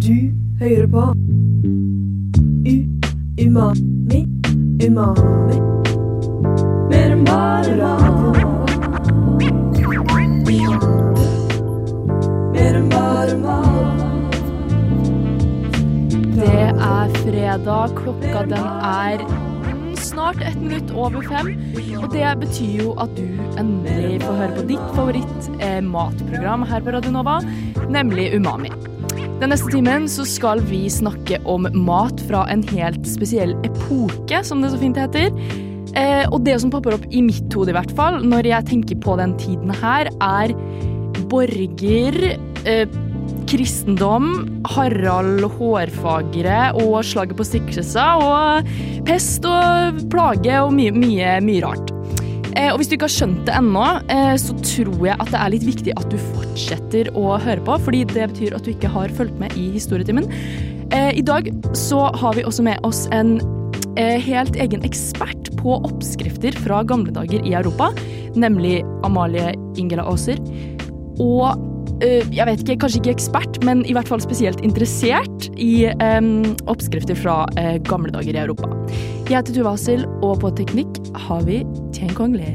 Du hører på U Umami Umami Mer enn bare mat Mer enn bare mat Det er fredag, klokka den er mm, snart ett minutt over fem. Og det betyr jo at du endelig får høre på ditt favoritt-matprogram her på Radionova, nemlig Umami. Den neste timen så skal vi snakke om mat fra en helt spesiell epoke, som det så fint heter. Eh, og det som popper opp i mitt hode i hvert fall, når jeg tenker på den tiden her, er borger eh, kristendom, Harald Hårfagre og slaget på Stiklesa og pest og plage og mye, mye, mye rart. Eh, og hvis du ikke har skjønt det ennå, eh, så tror jeg at det er litt viktig at du fortsetter å høre på, fordi det betyr at du ikke har fulgt med i historietimen. Eh, I dag så har vi også med oss en eh, helt egen ekspert på oppskrifter fra gamle dager i Europa, nemlig Amalie Ingela Aaser. Og eh, jeg vet ikke, kanskje ikke ekspert, men i hvert fall spesielt interessert i eh, oppskrifter fra eh, gamle dager i Europa. Jeg heter Tuva Hassel, og på teknikk har vi Tjen Kongli.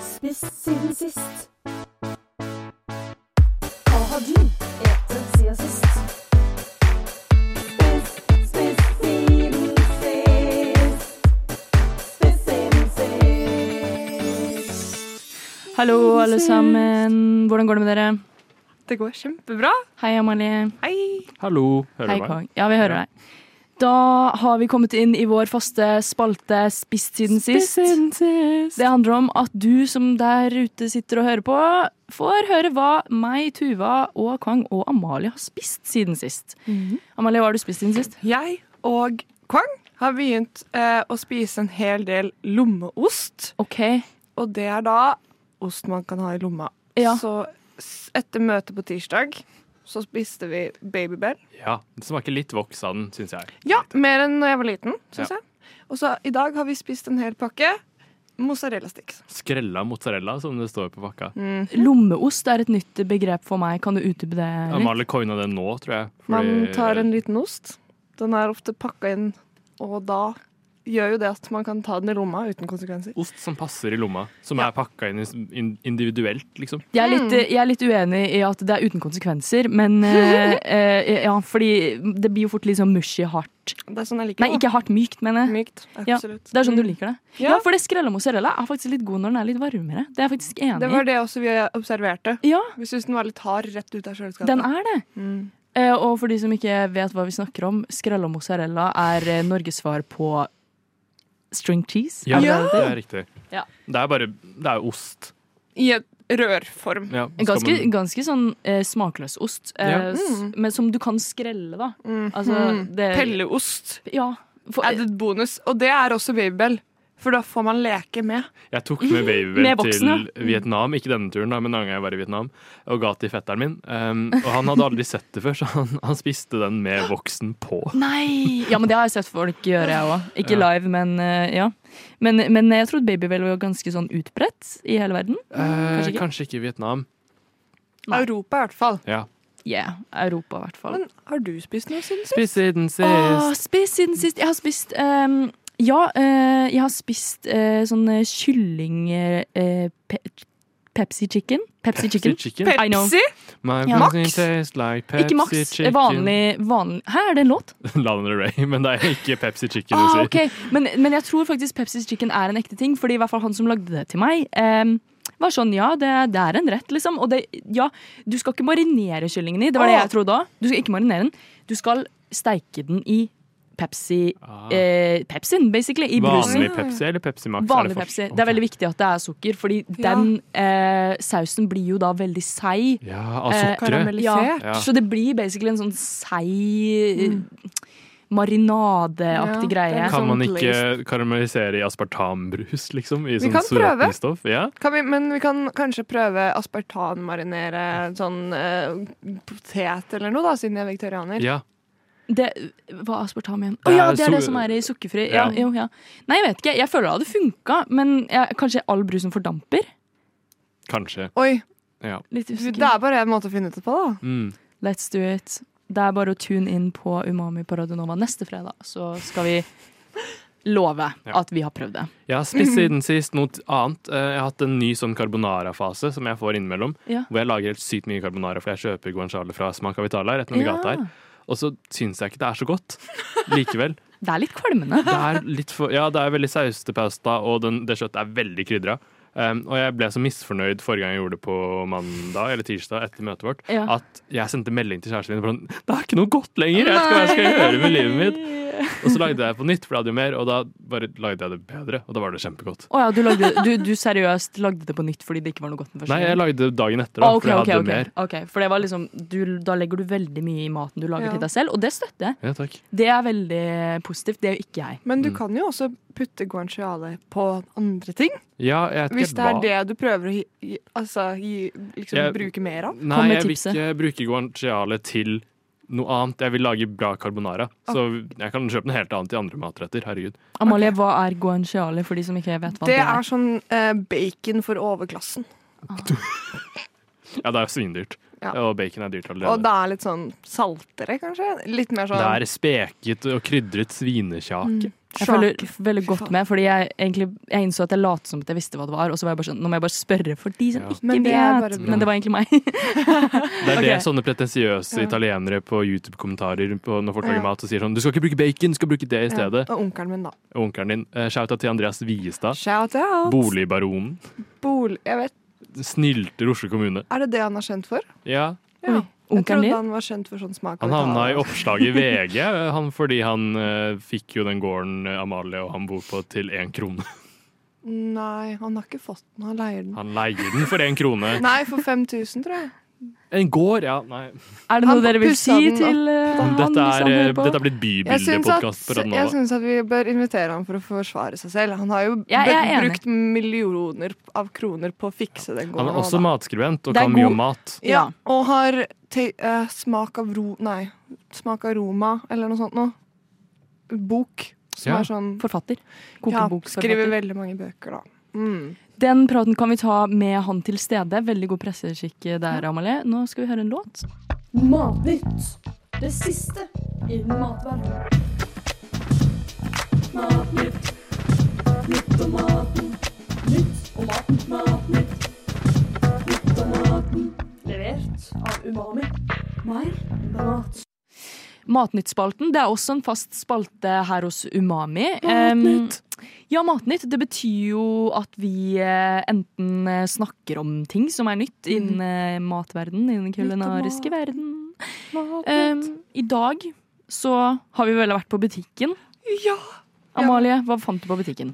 Spist siden sist Hva har du etet siden sist? Spist, spist siden sist Spist siden sist Hallo, alle sammen. Hvordan går det med dere? Det går kjempebra. Hei, Amalie. Hei. Hallo, hører Hei, du meg? Kong. Ja, vi hører deg. Da har vi kommet inn i vår faste spalte Spist siden sist. Det handler om at du som der ute sitter og hører på, får høre hva meg, Tuva og Kang og Amalie har spist siden sist. Amalie, hva har du spist siden sist? Jeg og Kwang har begynt eh, å spise en hel del lommeost. OK. Og det er da ost man kan ha i lomma. Ja. Så s- etter møtet på tirsdag så spiste vi Babybel. Ja, det smaker litt voks av den, syns jeg. Ja, mer enn når jeg var liten, syns Ja. jeg. Og så i dag har vi spist en hel pakke mozzarella sticks. Skrella mozzarella, som det står på pakka. Mm. Lommeost er et nytt begrep for meg. Kan du utdype det? litt? Amalie coina den nå, tror jeg. Man fordi- tar en liten ost. Den er ofte pakka inn, og da gjør jo det at man kan ta den i lomma uten konsekvenser. Ost som passer i lomma, som er pakka inn i- in- individuelt, liksom. Jeg er, litt, jeg er litt uenig i at det er uten konsekvenser, men eh, eh, Ja, fordi det blir jo fort litt sånn mushy hardt. Det er sånn jeg liker Nei, det. ikke hardt, mykt, mener jeg. Mykt. Ja, Absolutt. Mm. det er sånn du liker det. Ja. Ja, for det skrella mozzarella er faktisk litt god når den er litt varmere. Det er jeg faktisk enig Det i. var det også vi observerte. Ja, Vi syntes den var litt hard rett ut av kjøleskapet. Mm. den er det. Eh, og for de som ikke vet hva vi snakker om, skrella mozzarella er eh, Norges svar på string cheese. Ja, Ja. det er riktig. Ja. Det er bare Det er jo ost. I et rørform. Ja, En skal ganske, man- ganske sånn eh, smakløs ost, eh, Ja. s- men som du kan skrelle, da. Mm. Altså, det- Pelleost. Ja. For, Added bonus. Og det er også Babybel. For da får man leke med. Jeg tok med Mm, Med Mm. babybel voksne. til Vietnam, ikke denne turen, da, men en gang jeg var i Vietnam, og ga til fetteren min. Um, og han hadde aldri sett det før, så han, han spiste den med voksen på. eh, Nei! Ja, men det har jeg sett folk gjøre, jeg òg. Ikke Ja. live, men eh, ja. Men, men jeg trodde babyvel var ganske sånn utbredt i hele verden. Eh, kanskje ikke. kanskje ikke i Vietnam. Nei. Europa, i hvert fall. Ja. Yeah, Europa, i hvert fall. Men har du spist noe siden sist? Spis siden sist. Åh, spist siden sist. Jeg har spist ehm, Ja, eh, jeg har spist eh, sånn eh, kylling eh, pe Pepsi chicken. Pepsi chicken. Chicken. I know. Pepsi? My Ja. Max. Max? Tastes like Pepsi Ikke Max. Chicken. Vanlig, vanlig Hæ, er det en låt? Lana Del Rey, men det er ikke Pepsi Chicken du Ah, sier. ok. men, men jeg tror faktisk Pepsi chicken er en ekte ting, fordi i hvert fall han som lagde det til meg, ehm, var sånn Ja, det, det er en rett, liksom. Og det, ja, du skal ikke marinere kyllingen i. Det var det Åh. jeg trodde òg. Du skal ikke marinere den. Du skal steike den i Pepsi Ah. eh, Pepsin, basically. I brusen. Vanlig Pepsi eller Pepsi Max? Vanlig for- Pepsi. Det er veldig viktig at det er sukker, fordi Ja. den eh, sausen blir jo da veldig seig. Ja, av Eh, sukkeret. Karamellisert. Ja. Så det blir basically en sånn seig marinadeaktig Mm. Ja, det greie. er Kan man sånn ikke karamellisere i aspartambrus, liksom? I sånn kan prøve. stoff? Ja. Kan vi, men vi kan kanskje prøve aspartanmarinere sånn eh, potet eller noe, da, siden jeg er vegetarianer. ja. Det, hva er aspartam igjen? Å Det ja, er det er det su- som er i sukkerfri. Ja, Ja. jo, ja. Nei, jeg vet ikke. Jeg føler det hadde funka, men jeg, kanskje all brusen fordamper? Kanskje. Oi, Ja. Litt Du, usikker. Det er bare en måte å finne ut det på, da. Mm. Let's do it. Det er bare å tune inn på Umami på Radio Nova neste fredag, så skal vi love Ja. at vi har prøvd det. Jeg har spist siden sist noe annet. Eh, Jeg har hatt en ny sånn carbonara-fase som jeg får innimellom. Ja. Hvor jeg lager helt sykt mye carbonara, for jeg kjøper guanciale fra Smak av Vitala rett nedi Ja. gata her. Og så syns jeg ikke det er så godt likevel. Det er litt kvalmende. Det er litt for Ja, det er veldig sausete pasta, og den, det kjøttet er veldig krydra. Um, og jeg ble så misfornøyd forrige gang jeg gjorde det på mandag eller tirsdag etter møtet vårt, Ja. at jeg sendte melding til kjæresten min og sånn Det er ikke noe godt lenger! Jeg vet ikke hva jeg skal gjøre med livet mitt! Og så lagde jeg det på nytt, for jeg hadde jo mer, og da bare lagde jeg det bedre. Og da var det kjempegodt. Å ja, du, lagde, du, du seriøst lagde det på nytt fordi det ikke var noe godt den første Nei, jeg gangen? lagde det dagen etter, da, Å, ok, for jeg Ah, ok, ok. hadde mer. Ok, For det var liksom du, Da legger du veldig mye i maten du lager Ja. til deg selv, og det støtter jeg. Ja, takk. Det er veldig positivt. Det er jo ikke jeg. Men du Mm. kan jo også putte guanciale på andre ting. Ja, jeg vet Hvis det ikke er hva- det du prøver å gi, gi, altså, gi, liksom, Jeg- bruke mer av. Nei, Kom med jeg vil tipset. ikke bruke guanciale til noe annet. Jeg vil lage bra carbonara. Så jeg kan kjøpe noe helt annet i andre matretter. Herregud. Amalie, hva er guanciale for de som ikke vet hva Det det, er sånn eh, bacon for overklassen. Ja, det er jo svindyrt. Ja. Og bacon er dyrt Og allerede. det er litt sånn saltere, kanskje? Litt mer Det sånn er speket og krydret Mm. svinekjake. Jeg føler sjak- veldig Fy godt faen. med, fordi jeg, egentlig, jeg innså at jeg lot som at jeg visste hva det var, og så var jeg bare sånn, nå må jeg bare spørre for de som Ja. ikke Men det er vet. bare bra. Men det var egentlig meg. Det er det Ok. sånne pretensiøse Ja. italienere på YouTube-kommentarer på- når folk Ja. lager mat, og sier sånn Du skal ikke bruke bacon, du skal bruke det i Ja, stedet. Og onkelen min, da. Og onkelen din. eh, Shouta til Andreas Viestad. Shout out! Boligbaronen. Bol jeg vet, Snylter Oslo kommune. er det det han er kjent for? Ja. Ja. Jeg Onkelen trodde din? han var kjent for sånn smak. Han havna i oppslag i VG han, fordi han eh, fikk jo den gården eh, Amalie og han bor på til én krone. Nei, han har ikke fått den. Han leier den. Han leier den for én krone. Nei, for 5000, tror jeg. En gård, ja. Nei. Er det noe Han dere vil pussa si den til eh, han Dette hvis er, han eh, hører på? dette er blitt liksom Jeg syns at, bybildepodkast på jeg Radnova. syns at vi bør invitere ham for å forsvare seg selv. Han har jo Ja, jeg er br- enig. brukt millioner av kroner på å fikse den Han gården. er også nå, da. matskribent og Det er kan mye god- om mat. ja, Ja. og har te eh, smak av ro... Nei, smak av Roma, eller noe sånt noe. Bok. Som Ja. er sånn Forfatter. Ja, Kokebokforfatter. skriver veldig mange bøker, da. Mm. Den praten kan vi ta med han til stede. Veldig god presseskikk eh, der, Amalie. Nå skal vi høre en låt. Matnytt. Det siste innen matverden. Matnytt. Nytt om maten. Nytt om maten. Matnytt. Nytt om maten. Levert av Umami. Mer mat. Matnyttspalten det er også en fast spalte her hos Umami. Matnytt. Em, ja, Matnytt. Det betyr jo at vi eh, enten eh, snakker om ting som er nytt innen eh, matverdenen, innen den Nytt om kulinariske mat. verden. Em, Matnytt. I dag så har vi vel vært på butikken. ja! Amalie, hva fant du på butikken?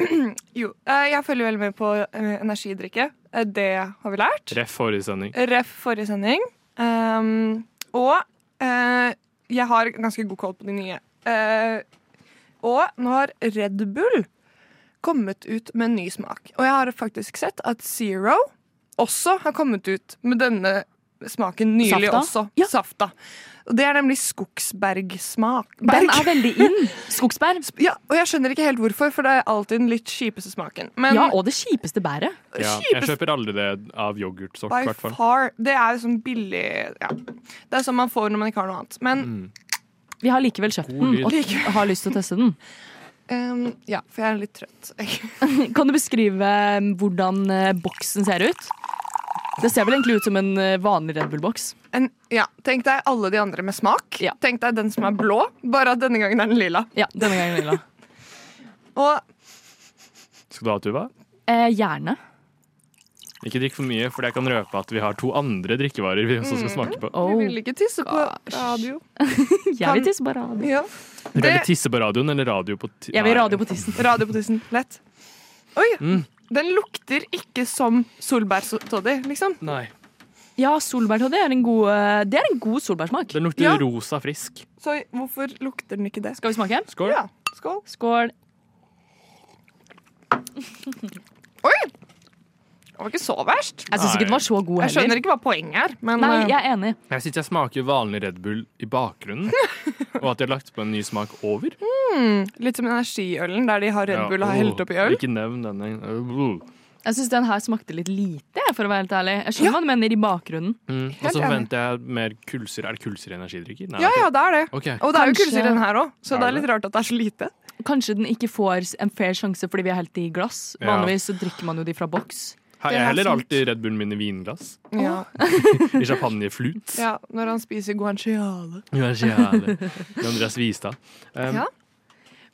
Jo, eh, jeg følger veldig med på eh, energidrikke. Eh, Det har vi lært. Ref forrige sending. Ref forrige sending. Um, og eh, jeg har ganske god koll på de nye. Eh, og nå har Red Bull kommet ut med en ny smak. Og jeg har faktisk sett at Zero også har kommet ut med denne smaken nylig Safta? også. Ja. Safta. Og det er nemlig skogsbergsmak. Den Berg. er veldig inn! Skogsbær. Ja, og jeg skjønner ikke helt hvorfor, for det er alltid den litt kjipeste smaken. Men Ja, og det kjipeste bæret. Ja, jeg kjipeste kjøper aldri det av yoghurtsort, i By hvert fall. far. Det er jo sånn billig ja. Det er sånn man får når man ikke har noe annet. Men Mm. Vi har likevel kjøpt God den lyd. og har lyst til å teste den. ehm, ja, for jeg er litt trøtt. Kan du beskrive um, hvordan uh, boksen ser ut? Det ser vel egentlig ut som en uh, vanlig Red Bull-boks. En, ja, Tenk deg alle de andre med smak. Ja. Tenk deg den som er blå, bare at denne gangen er den lilla. Ja, denne gangen lilla. Og Skal du ha, Tuva? Eh, gjerne. Ikke drikk for mye, for jeg kan røpe at vi har to andre drikkevarer vi også skal Mm. smake på. Oh, vi vil ikke tisse på gosh. radio. jeg vil tisse på radio. Ja. Vil du Det- heller tisse på radioen eller radio på ti- Jeg vil Nei. radio på tissen. Radio på tissen. Lett. Oi! Mm. Den lukter ikke som solbærsoddy, liksom. Nei. Ja, solbærtoddy er en god uh, Det er en god solbærsmak. Den lukter Ja. rosa frisk. Så hvorfor lukter den ikke det? Skal vi smake? Skål. Ja, skål. Skål. Oi! Det var ikke så verst. Jeg syns Nei. ikke den var så god Jeg heller. skjønner ikke hva poenget er, men Nei, eh, jeg er enig. Jeg syns jeg smaker vanlig Red Bull i bakgrunnen, og at de har lagt på en ny smak over. Litt som energiølen, der de har Red Bull og Ja, har åh, helt oppi øl. Ikke nevn denne. Jeg syns den her smakte litt lite, jeg, for å være helt ærlig. Jeg skjønner hva du mener i bakgrunnen. Mm. Og Helt så enig. forventer jeg mer kulser. Er det kulser i energidrikker? Nei, Ja, det er ja, det er det. ikke- Ok. Og det er jo Kanskje- kulser i den her òg, så Er det er det? litt rart at det er så lite. Kanskje den ikke får en fair sjanse fordi vi er helt i glass. Ja. Vanligvis så drikker man jo de fra boks. Her- det Jeg er heller sant. alltid Red Bullen min i vinglass. Ja, I champagneflut. ja Når han spiser guanciale. Ja, kjære. Med Andreas Vistad. Um, Ja.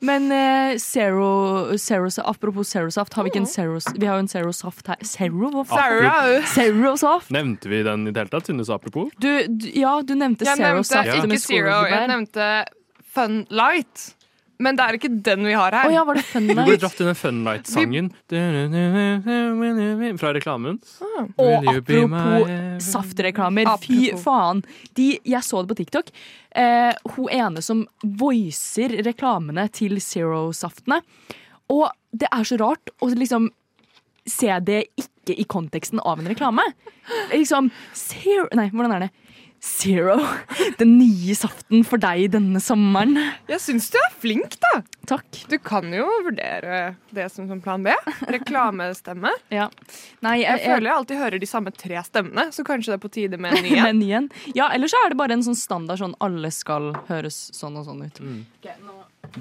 Men eh, zero, zero, apropos zerosaft, har vi Mm. ikke en zero, vi har jo en zerosaft her. Zero? Hva faen? Sarah! Zerosaft? Nevnte vi den i det hele tatt? Synes du apropos? Du, du, ja, du nevnte Jeg nevnte zerosaft Ja. med ikke Zero, jeg skolejordbær. nevnte Fun Light. Men det er ikke den vi har Å her. ja, var det Du burde Funlight? dratt inn den Funlight-sangen fra reklamen. Og Will you be apropos my- saftreklamer, fy Mm-hmm. Apropos. faen. De, jeg så det på TikTok. Eh, hun ene som voicer reklamene til Zero-saftene. Og det er så rart å liksom se det ikke i konteksten av en reklame. Liksom Zero Nei, hvordan er det? Zero. Den nye saften for deg denne sommeren. Jeg syns du er flink, da. Takk. Du kan jo vurdere det som, som plan B. Reklamestemme. Ja. Nei, Jeg jeg, jeg, føler jeg alltid hører de samme tre stemmene, så kanskje det er på tide med en ny en. men igjen. Ja, ellers så er det bare en sånn standard sånn alle skal høres sånn og sånn ut. Mm.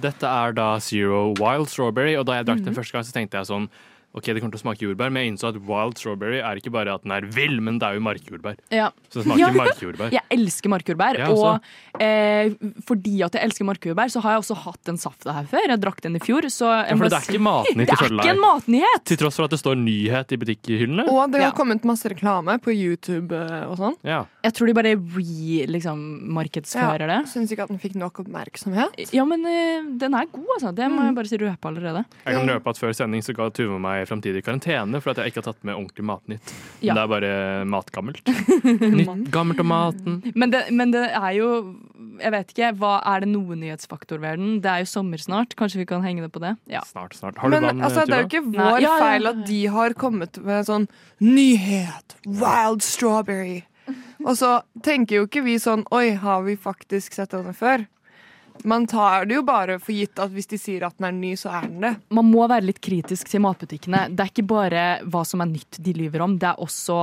Dette er da Zero Wild Strawberry, og da jeg drakk den første gang, så tenkte jeg sånn Ok, det kommer til å smake jordbær, men jeg innså at wild strawberry er ikke bare at den er vill, men det er jo markjordbær. Ja. Så det smaker Ja. markjordbær. Jeg elsker markjordbær, Ja, og eh, fordi at jeg elsker markjordbær, så har jeg også hatt den safta her før. Jeg drakk den i fjor, så jeg Ja, for må det er si- ikke matnytt, det er ifølge ikke en deg. matnyhet! Til tross for at det står nyhet i butikkhyllene. Og det har Ja. kommet masse reklame på YouTube eh, og sånn. Ja. Jeg tror de bare re-markedsfører det. Syns ikke at den fikk nok oppmerksomhet. Ja, men eh, den er god, altså. Det Mm. må jeg bare si røpe allerede. Jeg kan røpe at før sending så ga Tuve meg framtidig karantene for at jeg ikke har tatt med ordentlig matnytt. Ja. Men det er bare matgammelt. Nytt, gammelt om maten. Men det, men det er jo Jeg vet ikke. Hva er det noe nyhetsfaktor ved den? Det er jo sommer snart. Kanskje vi kan henge det på det? Ja. Snart, snart. Har du Men vann, altså, det er jo Tuva? ikke Nei, vår ja, ja, feil ja, at de har kommet med sånn nyhet, wild strawberry. Og så tenker jo ikke vi sånn Oi, har vi faktisk sett denne før? Man tar det jo bare for gitt at hvis de sier at den er ny, så er den det. man må være litt kritisk til matbutikkene. Det er ikke bare hva som er nytt de lyver om, det er også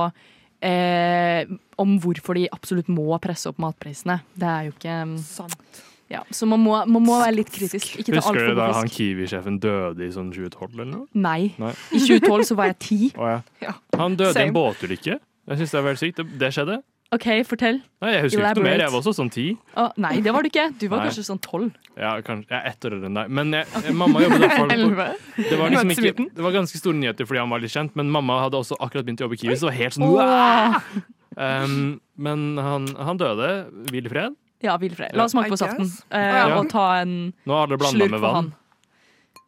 eh, om hvorfor de absolutt må presse opp matprisene. Det er jo ikke Sånn. Sant. ja. Så man må, man må være litt kritisk. Ikke ta Husker altfor du da god han fisk. Kiwi-sjefen døde i sånn 2012 eller noe? Nei. Nei. I 2012 så var jeg ti. Å, ja. Ja. Han døde i Same. en båtulykke. Jeg synes det er veldig sykt. Det, det skjedde. OK, fortell. Nei, jeg husker ikke noe mer. Elaborate. Jeg var også sånn ti. Å, nei, det var du ikke. Du var Nei. kanskje sånn tolv. Ja, kanskje, jeg er ett år eldre enn deg. Men jeg, jeg- mamma jobbet der for det var, liksom ikke, Møtesviten. det var ganske store nyheter fordi han var litt kjent, men mamma hadde også akkurat begynt å jobbe i Kiwi, så det var helt sånn Åh. um, Men han, han døde. Hvil i fred. Ja, Vilfred. La oss smake I på saften guess. eh, Ja. og ta en Nå har alle blanda slurk med for han. vann.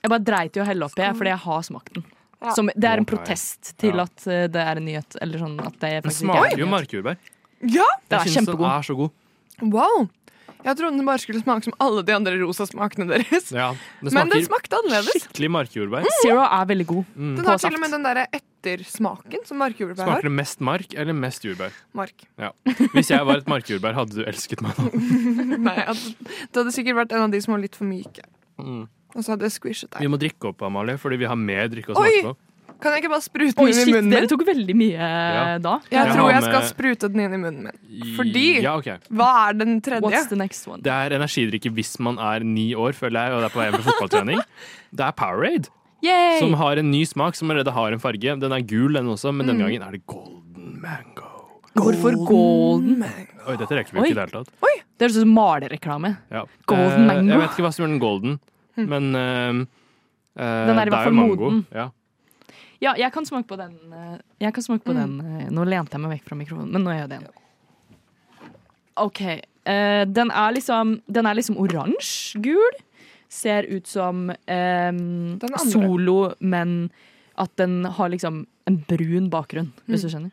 Jeg bare dreit i å helle oppi, jeg, fordi jeg har smakt den. Ja. Som, det er en Ok. protest til Ja. at eh, det er en nyhet. Eller sånn at det Den faktisk ikke smaker er jo en nyhet. markjordbær. Ja! Det er Jeg synes den kjempegod. er så god. Wow! Jeg trodde den bare skulle smake som alle de andre rosa smakene deres. Ja, det Men den smaker smakte annerledes. skikkelig markjordbær. Mm. Zero Mm, er veldig god. Den på har til saft. og med den derre ettersmaken som markjordbær Smaker har. det mest mark eller mest jordbær? Mark. Ja. Hvis jeg var et markjordbær, hadde du elsket meg nå. Nei, at, det hadde sikkert vært en av de som var litt for myke. Mm. Og så hadde jeg squishet Vi deg. må drikke opp, Amalie, fordi vi har mer drikke å Oi! smake på. Kan jeg ikke bare sprute Oi, den inn i shit, munnen dere min? tok veldig mye eh, Ja. da. Jeg Ja. tror jeg Med- skal sprute den inn i munnen min. I- Fordi- Ja, ok. Hva er den tredje? What's the next one? Det er energidrikke hvis man er ni år, føler jeg, og det er på vei hjem fra fotballtrening. Det er Powerade, Yay! som har en ny smak, som allerede har en farge. Den er gul, den også, men denne gangen er det golden mango. Hvorfor golden? Oi, dette rekker vi jo Oi. ikke i det hele tatt. Det er sånn malereklame. Ja. Golden Eh, mango? Hmm. Jeg vet ikke hva som gjør den golden, men eh, eh, Den er i det hvert jo fall mango. moden. Ja. Ja, jeg kan smake på den. eh, Jeg kan Mm. smake på den. eh, Nå lente jeg meg vekk fra mikrofonen, men nå gjør jeg det igjen. OK. eh, den er liksom Den er liksom oransje-gul. Ser ut som eh, andre. solo, men at den har liksom en brun bakgrunn, hvis du skjønner.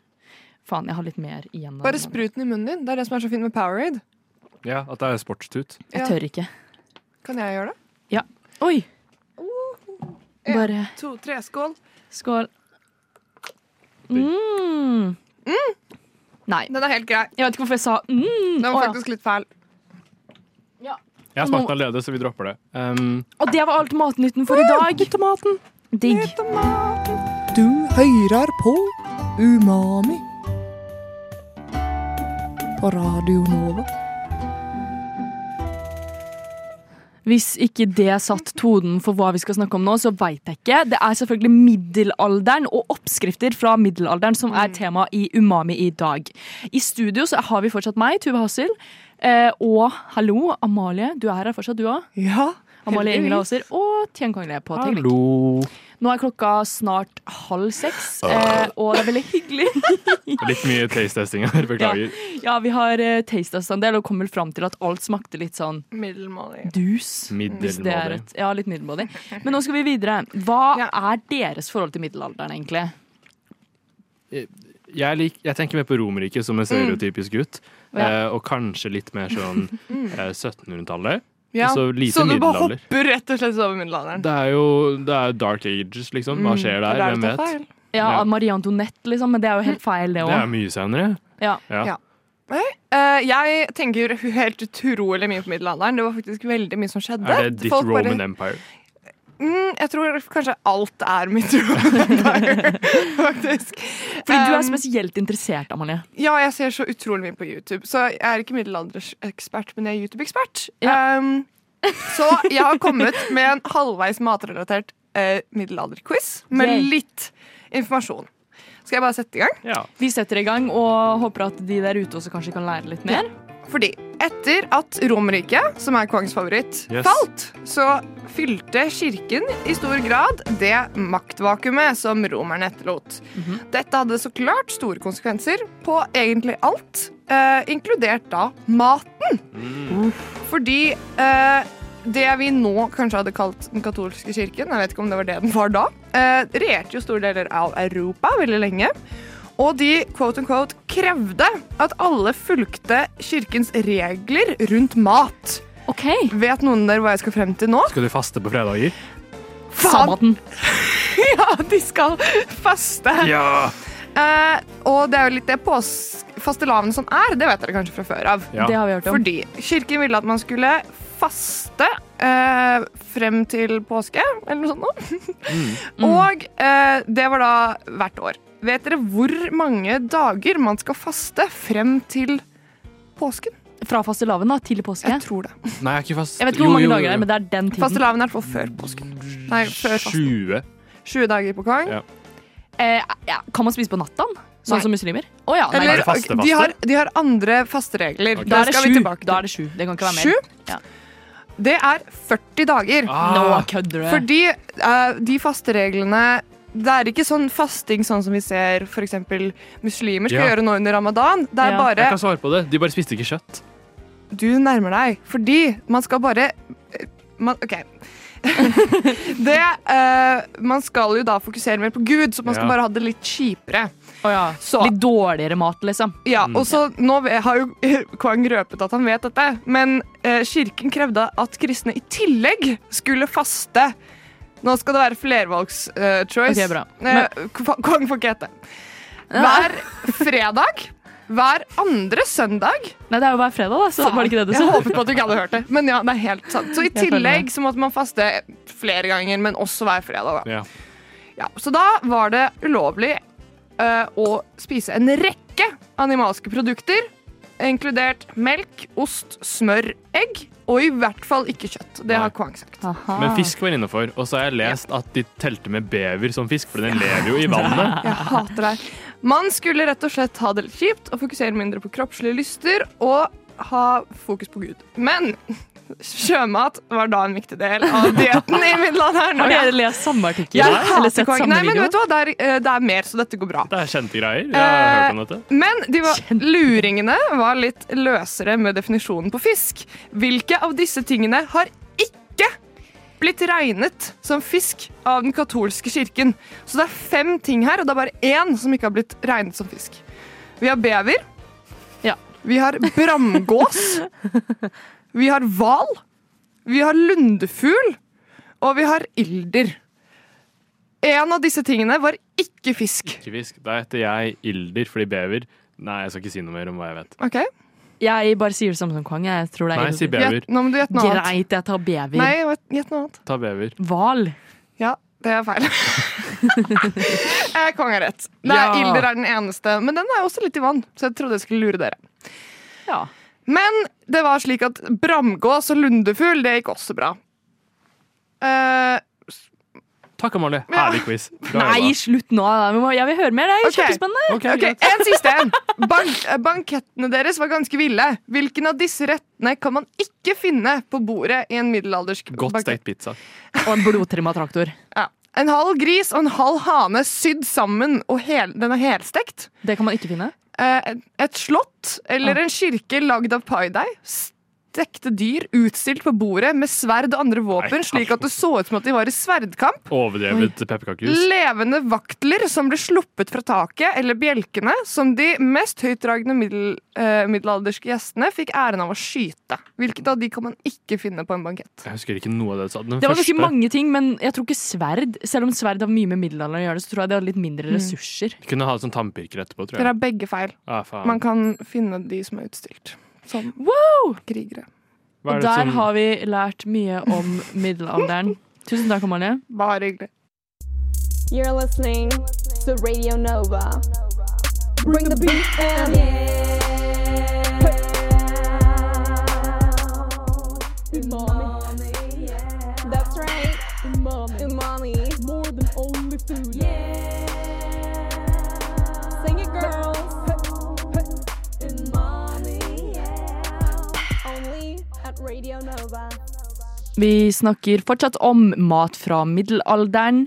Faen, jeg har litt mer igjen. av Mm. Bare den. sprut den i munnen din. Det er det som er så fint med Powerade. ja, at det er sportstut. Ja. Jeg tør ikke. Kan jeg gjøre det? Oi! Bare To, tre, skål. skål. Mm. Nei. Den er helt grei. Jeg vet ikke hvorfor jeg sa mm. Den var Å, ja. faktisk litt fæl. Jeg har smakt den allerede, så vi dropper det. Um, Og det var alt matnytten for i dag. Digg. Du hører på Umami. På Radio Nova. Hvis ikke det satt tonen for hva vi skal snakke om nå, så veit jeg ikke. Det er selvfølgelig middelalderen og oppskrifter fra middelalderen som er tema i Umami i dag. I studio så har vi fortsatt meg, Tuve Hassel. Eh, og hallo, Amalie. Du er her fortsatt, du òg. Ja, Amalie heldigvis. Ingela Aaser og Tjen Kongelige på teknikk. Hallo. Nå er klokka snart halv seks, eh, og det er veldig hyggelig. Litt mye taste-testing her, beklager. Ja, vi har eh, tastet en del og kommer fram til at alt smakte litt sånn Middelmådig. dus. Hvis det er Middelmådig. et, ja, litt middelmådig. Men nå skal vi videre. Hva Ja. er deres forhold til middelalderen, egentlig? Jeg, lik, jeg tenker mer på Romerriket som en stereotypisk gutt, Mm. Ja. Mm. eh, og kanskje litt mer sånn eh, 1700-tallet. Ja. Så lite du bare middelalder. hopper rett og slett over middelalderen. Det er jo det er dark ages, liksom. Mm. Hva skjer Det der? er Hvem det tar vet? feil. Ja, Ja. Marie Antoinette, liksom, men det er jo helt feil, det Det er òg. mye senere. Ja. Ja. Ja. Eh, jeg tenker helt utrolig mye på middelalderen. Det var faktisk veldig mye som skjedde. Er det ditt Folk bare- Roman Empire? Mm, jeg tror kanskje alt er mitt Roman Empire, faktisk. Fordi du er Um, spesielt interessert, Amalie. Ja, jeg ser så utrolig mye på YouTube. Så jeg er ikke middelalderekspert, men jeg er YouTube-ekspert. Ja. Um, så jeg har kommet med en halvveis matrelatert eh, middelalderquiz med Yay. litt informasjon. Skal jeg bare sette i gang? Ja. Vi setter i gang og håper at de der ute også kanskje kan lære litt mer. Fordi etter at Romerriket, som er kongens favoritt, Yes. falt, så fylte kirken i stor grad det maktvakuumet som romerne etterlot. Dette hadde så klart store konsekvenser på egentlig alt, eh, inkludert da maten. Fordi eh, det vi nå kanskje hadde kalt den katolske kirken, jeg vet ikke om det var det den var da, eh, regjerte jo store deler av Europa veldig lenge. Og de quote unquote, krevde at alle fulgte kirkens regler rundt mat. OK. Vet noen der hva jeg skal frem til nå? Skal du faste på fredager? Sabbaten. Ja, de skal faste. Ja! Eh, og det er jo litt det pås- fastelavn som er, det vet dere kanskje fra før av. Ja. Det har vi hørt om. Fordi kirken ville at man skulle faste eh, frem til påske, eller noe sånt nå. Og eh, det var da hvert år. Vet dere hvor mange dager man skal faste frem til påsken? Fra fastelavn da, til påske. Jeg tror det. Nei, jeg er ikke fast. Jeg vet ikke hvor mange dager det er, men det er den tiden. Fastelavn er i hvert fall før påsken. Nei, før fasten. 20. 20 dager på kong. Ja. Eh, ja, kan man spise på nattaen, sånn Nei. som muslimer? Å ja. Nei, Er Eller, det faste de, har, faste? de har andre da fasteregler. er Det det skal vi sju. tilbake til. Da er det sju. Det kan ikke være mer. Sju? Ja. Det er 40 dager. Nå Ah, kødder du. Fordi eh, de fastereglene Det er ikke sånn fasting sånn som vi ser f.eks. muslimer skal Ja. gjøre nå under ramadan. Det er Ja. bare jeg kan svare på det. De bare spiste ikke kjøtt. Du nærmer deg. Fordi man skal bare eh, man, OK. det eh, Man skal jo da fokusere mer på Gud, så man skal Ja. bare ha det litt kjipere. Å ja. Så- Litt dårligere mat, liksom. Ja, og så Nå ve- har jo Kwang røpet at han vet dette, men eh, kirken krevde at kristne i tillegg skulle faste. Nå skal det være eh, flervalgschoice. Ok, bra. Kwang Eh, får ikke hete. Hver fredag, hver andre søndag Nei, det er jo hver fredag, da. Så var det ikke det du Jeg sa? håpet på at du ikke hadde hørt det, men ja, det er helt sant. Så i følger tillegg med. så måtte man faste flere ganger, men også hver fredag. Da. Ja. Ja, så da var det ulovlig eh, å spise en rekke animalske produkter, inkludert melk, ost, smør, egg, og i hvert fall ikke kjøtt. Det Nei. har Kwang sagt. Aha. Men fisk var innafor. Og så har jeg lest at de telte med bever som fisk, for den lever jo i vannet. Jeg hater deg. Man skulle rett og slett ha det litt kjipt og fokusere mindre på kroppslige lyster og ha fokus på Gud. Men sjømat var da en viktig del av dietten i middelalderen. Har dere Jeg, lest samme artikkel? jeg Eller hater sett kong. samme Nei, men video? vet du hva? Det er, eh, det er mer, så dette går bra. Det er kjente greier. Jeg har hørt om Eh. dette. Men de var, luringene var litt løsere med definisjonen på fisk. Hvilke av disse tingene har ikke blitt regnet som fisk av den katolske kirken? Så det er fem ting her, og det er bare én som ikke har blitt regnet som fisk. Vi har bever. Ja. Vi har bramgås. vi har hval. Vi har lundefugl. Og vi har ilder. En av disse tingene var ikke fisk. Ikke fisk. Da heter jeg Ilder fordi bever Nei, jeg skal ikke si noe mer om hva jeg vet. Ok? Jeg bare sier det samme som Kwang. Jeg tror det er Nei, si bever. Gjett- Nå må du gjette noe annet. Greit, jeg tar bever. Nei, gjett noe annet. Ta bever. Hval. Ja, Det er feil. eh, Kong har rett. Det Ja. er Ilder er den eneste, men den er også litt i vann, så jeg trodde jeg skulle lure dere. Ja. Men det var slik at bramgås og lundefugl, det gikk også bra. Eh, Takk, Amalie. Ja. Herlig quiz. Bra Nei, jobba. slutt nå. da. Vi må- Jeg vil høre mer. Det er Ok. kjempespennende. Ok, ok, greit. En siste en. Bank eh, bankettene deres var ganske ville. Hvilken av disse rettene kan man ikke finne på bordet i en middelaldersk Godt bankett? stekt pizza. Og en blodtrimma traktor. Ja. En halv gris og en halv hane sydd sammen, og hel, den er helstekt. Det kan man ikke finne. Eh, et- et slott eller en kirke lagd av paideig. Stekte dyr utstilt på bordet med sverd og andre våpen, Nei, altså. slik at det så ut som at de var i sverdkamp. Overdrevet pepperkakehus. Levende vaktler som ble sluppet fra taket, eller bjelkene, som de mest høytdragne middel, eh, middelalderske gjestene fikk æren av å skyte. Hvilket av de kan man ikke finne på en bankett? Jeg husker ikke noe av det du sa. Den Det var ganske første mange ting, men jeg tror ikke sverd. Selv om sverd har mye med middelalderen å gjøre, så tror jeg det har litt mindre ressurser. Vi kunne ha sånn tannpirker etterpå, Dere tror jeg. har begge feil. Ah, faen. Man kan finne de som er utstilt som Wow! krigere. Hva er Og det der som- har vi lært mye om middelalderen. Tusen takk, Amalie. Bare hyggelig. You're listening to Radio Nova. Bring the beat and Umami. That's right. Umami. Umami. More than only food. Yeah. Sing it, girls. Umami. Yeah. Only at Radio Nova. Vi snakker fortsatt om mat fra middelalderen.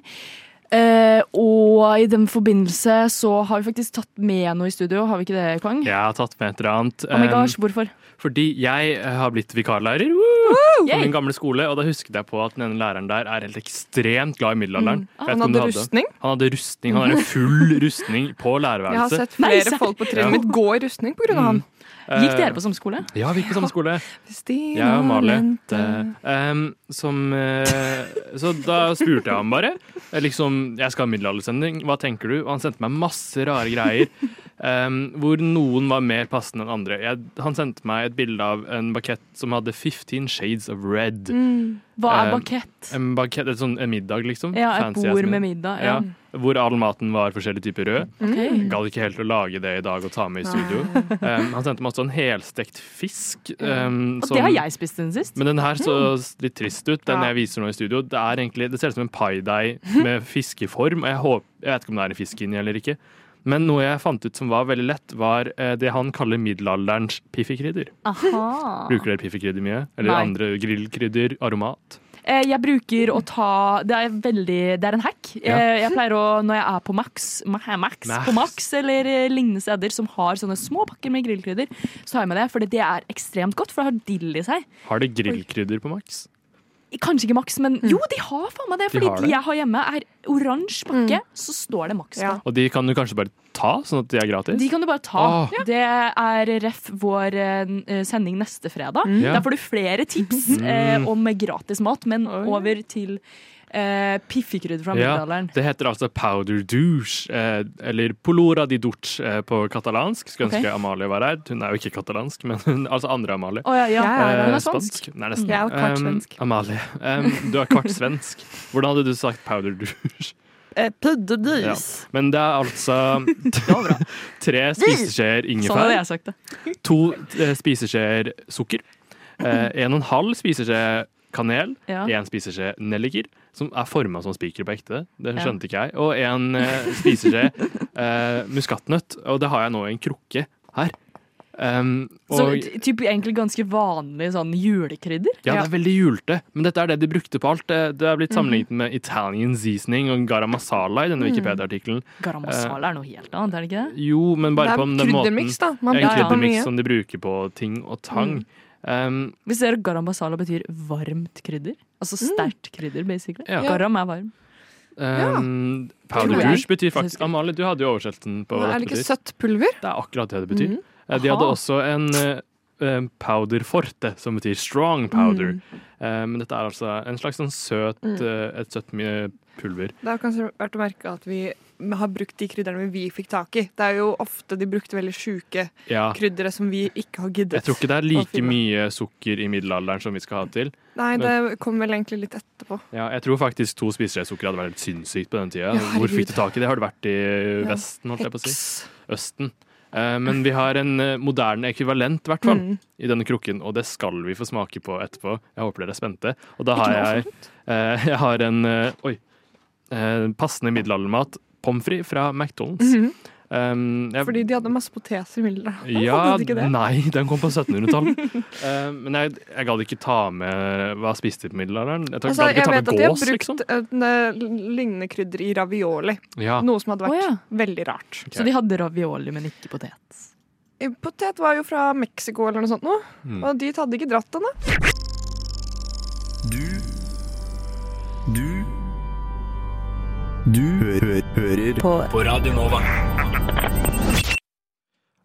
Eh, og i den forbindelse så har vi faktisk tatt med noe i studio, har vi ikke det, Kwang? Jeg har tatt med et eller annet. Oh my eh, gosh, hvorfor? Fordi jeg eh, har blitt vikarlærer woo, på Yay! min gamle skole, og da husket jeg på at den ene læreren der er helt ekstremt glad i middelalderen. Jeg vet Mm. Ah, Han ikke om du hadde rustning. Han hadde rustning. Han hadde full rustning Jeg på har lærerværelset. sett Nei, flere serr? folk på trinnet Ja. Mm. mitt gå i rustning pga. av han. Gikk dere på samme skole? Eh, Ja, vi gikk på samme skole. Christina Jeg og Amalie. Lente. Ehm, som eh, Så da spurte jeg ham bare. eh, Liksom, jeg skal ha middelaldersending, hva tenker du? Og han sendte meg masse rare greier. ehm, hvor noen var mer passende enn andre. Jeg, han sendte meg et bilde av en bakett som hadde 15 shades of red. Mm. Hva er Eh, bakett? En bakett, et sånn, en middag, liksom. Ja, et Fancy ass bord middag. med middag. Ja. Ja, Mm. hvor all maten var forskjellig type rød. Mm. Ok. Gadd ikke helt å lage det i dag og ta med i studio. Um, han sendte meg også en helstekt fisk. Um, Ah. Og som- det har jeg spist den sist. Men den her Mm. så litt trist ut, den Ja. jeg viser nå i studio. Det, er egentlig, det ser ut som en paideig med fiskeform. Og jeg, håper, jeg vet ikke om det er en fisk inni eller ikke. Men noe jeg fant ut som var veldig lett, var eh, det han kaller middelalderens piffikrydder. Aha. Bruker dere piffikrydder mye? Eller Nei. andre grillkrydder? Aromat? Eh, Jeg bruker å ta Det er veldig Det er en hack. Ja. Eh, Jeg pleier å, når jeg er på Max, ma- Max, Max. På Max eller eh, lignende steder som har sånne små pakker med grillkrydder, så tar jeg med det, for det er ekstremt godt, for det har dill i seg. Har det grillkrydder på maks? Kanskje ikke Max, men jo, de har faen meg det, Mm. De fordi har de, det. Mm. jeg har hjemme, er oransje pakke, så står det Max på. Ja. Og de kan du kanskje bare ta, sånn at de er gratis? De kan du bare ta. Åh. Det er ref vår eh, sending neste fredag. Ja. Der får du flere tips Mm. eh, om gratis mat, men over til eh, piffikrydder fra middelalderen. det heter altså powder douche, eh, eller polora di douche eh, på katalansk. Skulle ønske Ok. Amalie var her. Hun er jo ikke katalansk, men hun, altså andre Amalie. Å ja, ja. Ja, Eh, Hun er spansk. Nei, nesten. Jeg er jo kvart Um, svensk. Amalie, um, du er kvart svensk. Hvordan hadde du sagt powder douche? Ja. Men det er altså tre Sånn spiseskjeer hadde ingefær, jeg sagt det. to eh, spiseskjeer sukker, eh, en og en halv spiseskje kanel, Ja. én spiseskje nelliker, som er forma som spiker på ekte. Det Ja. skjønte ikke jeg. Og en eh, spiseskje eh, muskatnøtt, og det har jeg nå i en krukke her. Um, Så og, ty- typ, egentlig ganske vanlig sånn julekrydder. ja, det er veldig julete, men dette er det de brukte på alt. Det det er Mhm. blitt sammenlignet med Italian seasoning og garam masala i denne Wikipedia-artikkelen. Garam masala er noe helt annet, er det ikke det? Jo, men bare Det på er den måten. kryddermiks, da. Man En sånn Ja, ja. kryddermiks mye. Mhm. som de bruker på ting og tang. Um, Vi ser at garam masala betyr varmt krydder. Altså sterkt krydder, basically. Ja. Garam er varm. um, Powder Tror jeg. douche betyr faktisk Amalie, du hadde jo oversettelsen på hva Er det det ikke Mhm. betyr. søtt pulver? Mm. Det er akkurat det det betyr. Eh, De Aha. hadde også en eh, eh, powder forte, som betyr strong Mhm. powder. Mm. Eh, Men dette er altså en slags sånn søt, eh, et søtt mye pulver. Det er kanskje verdt å merke at vi har brukt de krydderne vi fikk tak i. Det er jo ofte de brukte veldig sjuke Ja. kryddere som vi ikke har giddet. Jeg tror ikke det er like finne. mye sukker i middelalderen som vi skal ha til. Nei, det kom vel egentlig litt etterpå. Ja, jeg tror faktisk to spiseskjeer sukker hadde vært helt sinnssykt på den tida. Ja, Hvor herregud. fikk du tak i det? Har det vært i Vesten, holdt jeg på å si? Østen. Eh, Men vi har en eh, moderne ekvivalent, i hvert fall, Mm. i denne krukken, og det skal vi få smake på etterpå. Jeg håper dere er spente. Og da har jeg, eh, jeg har en eh, Oi. eh, Passende middelaldermat. Pommes frites fra McDonald's. Mhm. Um, jeg- Fordi de hadde masse poteser i mylderet. ja, Hadde de ikke det? nei, den kom på 1700-tallet. Eh, men jeg, jeg gadd ikke ta med hva jeg spiste på middelalderen. Jeg tar- Altså, gadd ikke jeg ta vet med at de har gås, brukt liksom. en, eh, lignende krydder i ravioli. Ja. Noe som hadde vært Å, ja. veldig rart. Så de hadde ravioli, men ikke potet. Potet var jo fra Mexico eller noe sånt nå, Mm. og dit hadde de ikke dratt den, da. Du Du Du hø hø hører på. på Radio Nova.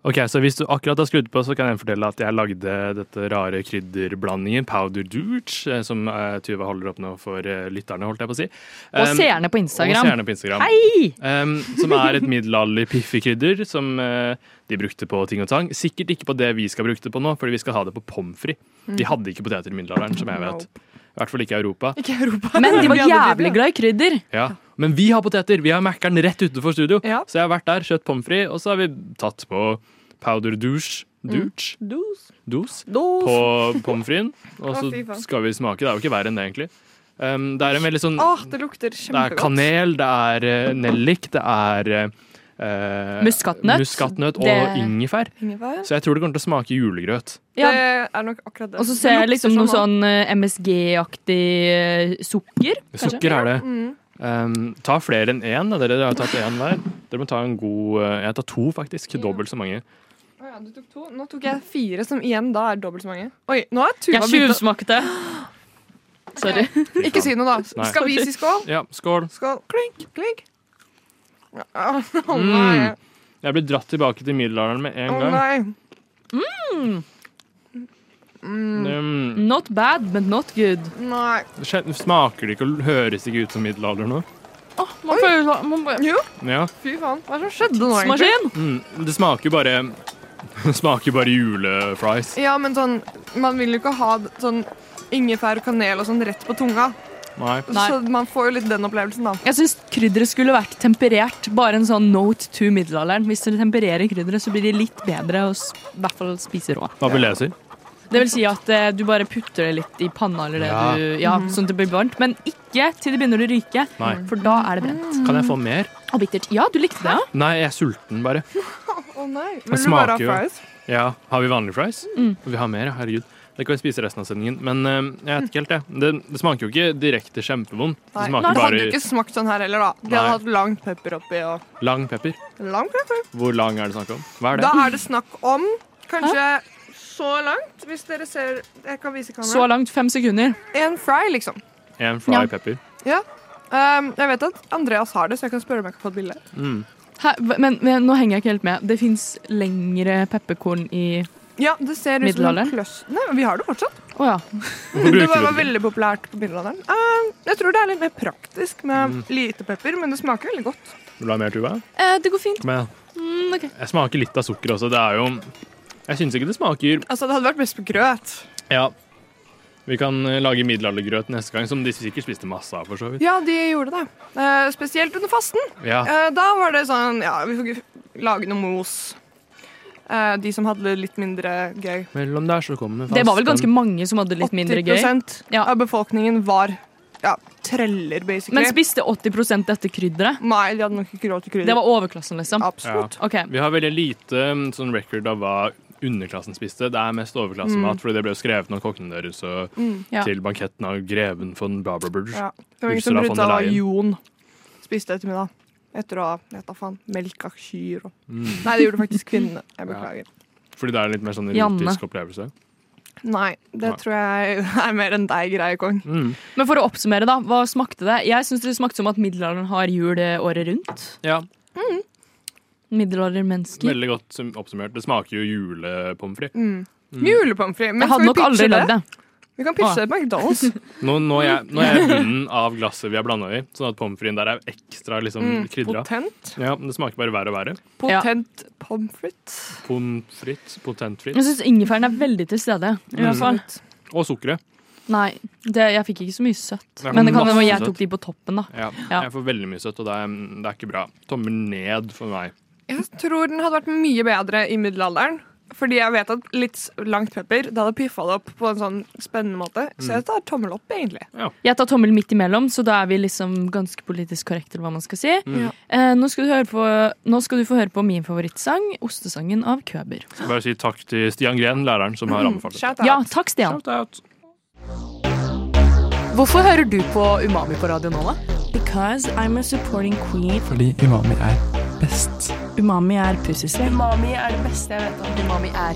Ok, så Hvis du akkurat har skrudd på, så kan jeg fortelle at jeg lagde dette rare krydderblandingen, powder dooch, eh, som eh, Tuva holder opp nå for eh, lytterne, holdt jeg på å si. Og Um, seerne på Og Instagram. seerne på Instagram. Hei! Um, som er et middelalderlig piffekrydder som eh, de brukte på ting og tang. Sikkert ikke på det vi skal bruke det på nå, fordi vi skal ha det på pommes frites. Mm. De hadde ikke poteter i middelalderen, som jeg vet. I hvert fall ikke i Europa. Ikke i Europa. Men de var hadde jævlig det. glad i krydder. Ja. Men vi har poteter! Vi har Mækkern rett utenfor studio. Ja. Så jeg har vært der, kjøtt pommes frites, og så har vi tatt på powder douche. Mm. Douche? Dos. Dos? Dos. på pommes fritesen. Og Å, så fy faen. skal vi smake. Det er jo ikke verre enn det, egentlig. Um, det er en veldig sånn Åh, det lukter Det er kjempegodt. kanel, det er eh, nellik, det er eh, Muskatnøtt. muskatnøtt og Det- ingefær. Ingefær. Så jeg tror det kommer til å smake julegrøt. Ja. Det er nok akkurat det. Og så ser jeg Det lukter liksom noe også. sånn eh, MSG-aktig eh, sukker. Kanskje? Sukker er det. Mm. Um, ta flere enn én. Da. Dere har tatt én hver. Dere må ta en god eh, Jeg tar to, faktisk. Dobbelt så mange. Å ja, du tok to. Nå tok jeg fire, som igjen da er dobbelt så mange. Oi, nå er Tuva Jeg begynt tjuvsmakte. Sorry. Fy å Ikke faen. si noe, da. Nei. Skal vi si skål? Ja, skål. Skål. Klink, klink. Å nei. Mm. Jeg blir dratt tilbake til middelalderen med en Å gang. nei. Mm. Mm. Um, Not bad, but not good. Nei. kjen- smaker det ikke og høres ikke ut som middelalder nå? Man føler sånn man bare- Jo, Ja. fy faen. Hva er det som skjedde nå, egentlig? Maskin! Mm, det smaker jo bare Det smaker bare julefries. Ja, men sånn Man vil jo ikke ha d- sånn ingefær og kanel og sånn rett på tunga. Nei. Nei. Så man får jo litt den opplevelsen, da. Jeg syns krydderet skulle vært temperert. Bare en sånn note to middelalderen. Hvis dere tempererer krydderet, så blir de litt bedre å s- i hvert fall spise rå. Hva vil jeg si? Det vil si at eh, du bare putter det litt i panna eller det Ja. du Ja, Mm. sånn at det blir varmt. Men ikke til det begynner å ryke, Nei. for da er det brent. Kan jeg få mer? Og bittert. Ja, du likte det, ja? Nei, jeg er sulten bare. Å nei. Vil du smaker bare ha jo. fries? Ja, Har vi vanlige fries? Vi har mer, ja. herregud. Det kan vi spise resten av sendingen. Men eh, jeg vet ikke helt, jeg. Det, det smaker jo ikke direkte kjempevondt. Det Nei. smaker det hadde jo bare ikke smakt sånn her heller, da. De Nei. hadde hatt langt pepper oppi og lang pepper. Lang pepper. Hvor lang er det snakk om? Hva er det? Da er det snakk om kanskje så langt, hvis dere ser Jeg kan vise Så kameraet. langt fem sekunder. En fry, liksom. En fry Ja. pepper. Um, jeg vet at Andreas har det, så jeg kan spørre om jeg kan få et bilde. Mm. Hæ, hva- men, men nå henger jeg ikke helt med. Det fins lengre pepperkorn i Ja, det ser ut som en Middelalderen? kløss... Nei, men vi har det fortsatt. Å ja. Hvorfor Det var, bruker var du det? veldig populært på middelalderen. Um, jeg tror det er litt mer praktisk med lite pepper, men det smaker veldig godt. Vil du ha mer, Tuva? Eh, det går fint. Kom igjen. Mm, ok. Jeg smaker litt av sukker også. Det er jo Jeg syns ikke det smaker Altså, det hadde vært best på grøt. Ja. Vi kan eh, lage middelaldergrøt neste gang, som de sikkert spiste masse av, for så vidt. Ja, de gjorde det. Eh, spesielt under fasten. Ja. Eh, da var det sånn Ja, vi får ikke lage noe mos. Eh, de som hadde det litt mindre gøy. Mellom der så kommer Det var vel ganske mange som hadde litt mindre gøy. 80 Ja. av befolkningen var ja, treller, basically. Men spiste 80 dette krydderet? Nei, de hadde nok ikke råd til krydder. Det var overklassen, liksom? Absolutt. OK. Vi har veldig lite mm, sånn record av hva underklassen spiste. Det er mest overklassemat, fordi det ble jo skrevet av kokkene deres og Mm. Ja. til banketten av greven von Barberburg. Ja. Mm. Det var ingen som Ursula von brydde seg der hva Leyen. Jon spiste ettermiddag. Etter å ha jeg vet da faen, melka kyr og Nei, det gjorde faktisk kvinnene. Jeg beklager. Mm. Fordi det er en litt mer sånn Janne. erotisk opplevelse. Nei, det Nei. tror jeg er mer enn deg, greie kong. Mm. Men for å oppsummere, da. Hva smakte det? Jeg syns det smakte som at middelalderen har jul eh, året rundt. Ja, Middelaldermennesker. Veldig godt sum- oppsummert. Det smaker jo julepommes frites. Mm. Julepommes frites. Mm. Jeg men skal hadde vi nok pitche aldri lagd det. Ah. Vi kan pitche McDonald's. Nå, nå, er jeg, nå er jeg bunnen av glasset vi har blanda i, sånn at pommes fritesen der er ekstra liksom, Mm, krydra. Potent. Ja, men det smaker bare verre og verre. Potent pommes frites. Pommes frites, potent frites. Jeg syns ingefæren er veldig til stede. Mm. i hvert fall. Og sukkeret. Nei, det, jeg fikk ikke så mye søtt. Jeg Men det får kan hende masse jeg søtt. tok de på toppen, da. Ja, Ja. Jeg får veldig mye søtt, og det er, mm, det er ikke bra. Tommel ned for meg. Jeg tror den hadde vært mye bedre i middelalderen. Fordi jeg vet at litt langt pepper Det hadde piffa det opp på en sånn spennende måte. Mm. Så jeg tar tommel opp, egentlig. Jeg tar tommel midt imellom, så da er vi liksom ganske politisk korrekte, eller hva man skal si. Mm. Ja. Eh, nå, skal du høre på, nå skal du få høre på min favorittsang, 'Ostesangen' av Køber. Skal bare si takk til Stian Gren, læreren, som Mm. har anbefalt det. Shout out. Ja, takk, Stian. Shout out. Hvorfor hører du på Umami på Radio Nova? Because I'm a supporting queen. Fordi umami er best. Umami er pussyslem. Umami er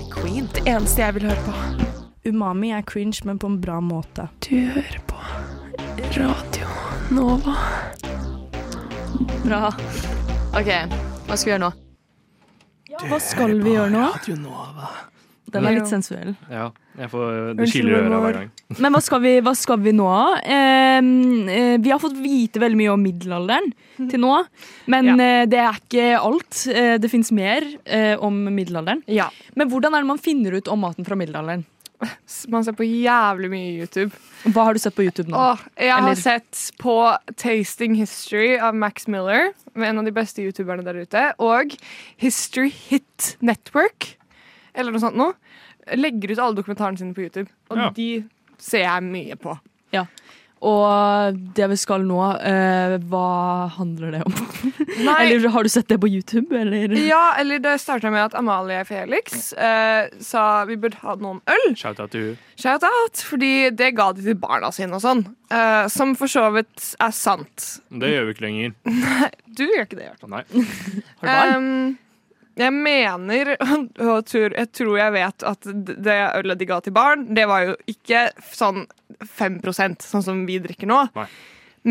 queen. Umami er cringe, men på en bra måte. Bra. OK, hva skal vi gjøre nå? Hva skal vi gjøre nå? Den er litt sensuell. Ja, jeg får, det kiler i øra hver gang. Men hva skal vi, hva skal vi nå? Eh, eh, vi har fått vite veldig mye om middelalderen til nå. Men Ja. eh, det er ikke alt. Eh, det fins mer eh, om middelalderen. Ja. Men hvordan er det man finner ut om maten fra middelalderen? S- Man ser på jævlig mye YouTube. Hva har du sett på YouTube nå? Åh, jeg har Eller- sett på Tasting History av Max Miller, med en av de beste youtuberne der ute, og History Hit Network, eller noe sånt noe, legger ut alle dokumentarene sine på YouTube. Og Ja. de ser jeg mye på. Og det vi skal nå, eh, hva handler det om? Nei, Eller har du sett det på YouTube? Eller? Ja, eller det starta med at Amalie Felix eh, sa vi burde ha noen øl. Shout out til hun. Shout out, fordi det ga de til barna sine og sånn. Eh, som for så vidt er sant. Det gjør vi ikke lenger. Du gjør ikke det, i hvert fall. Nei. Em, jeg mener, og tror, jeg tror jeg vet at det ølet de ga til barn, det var jo ikke sånn 5 sånn som vi drikker nå. Nei.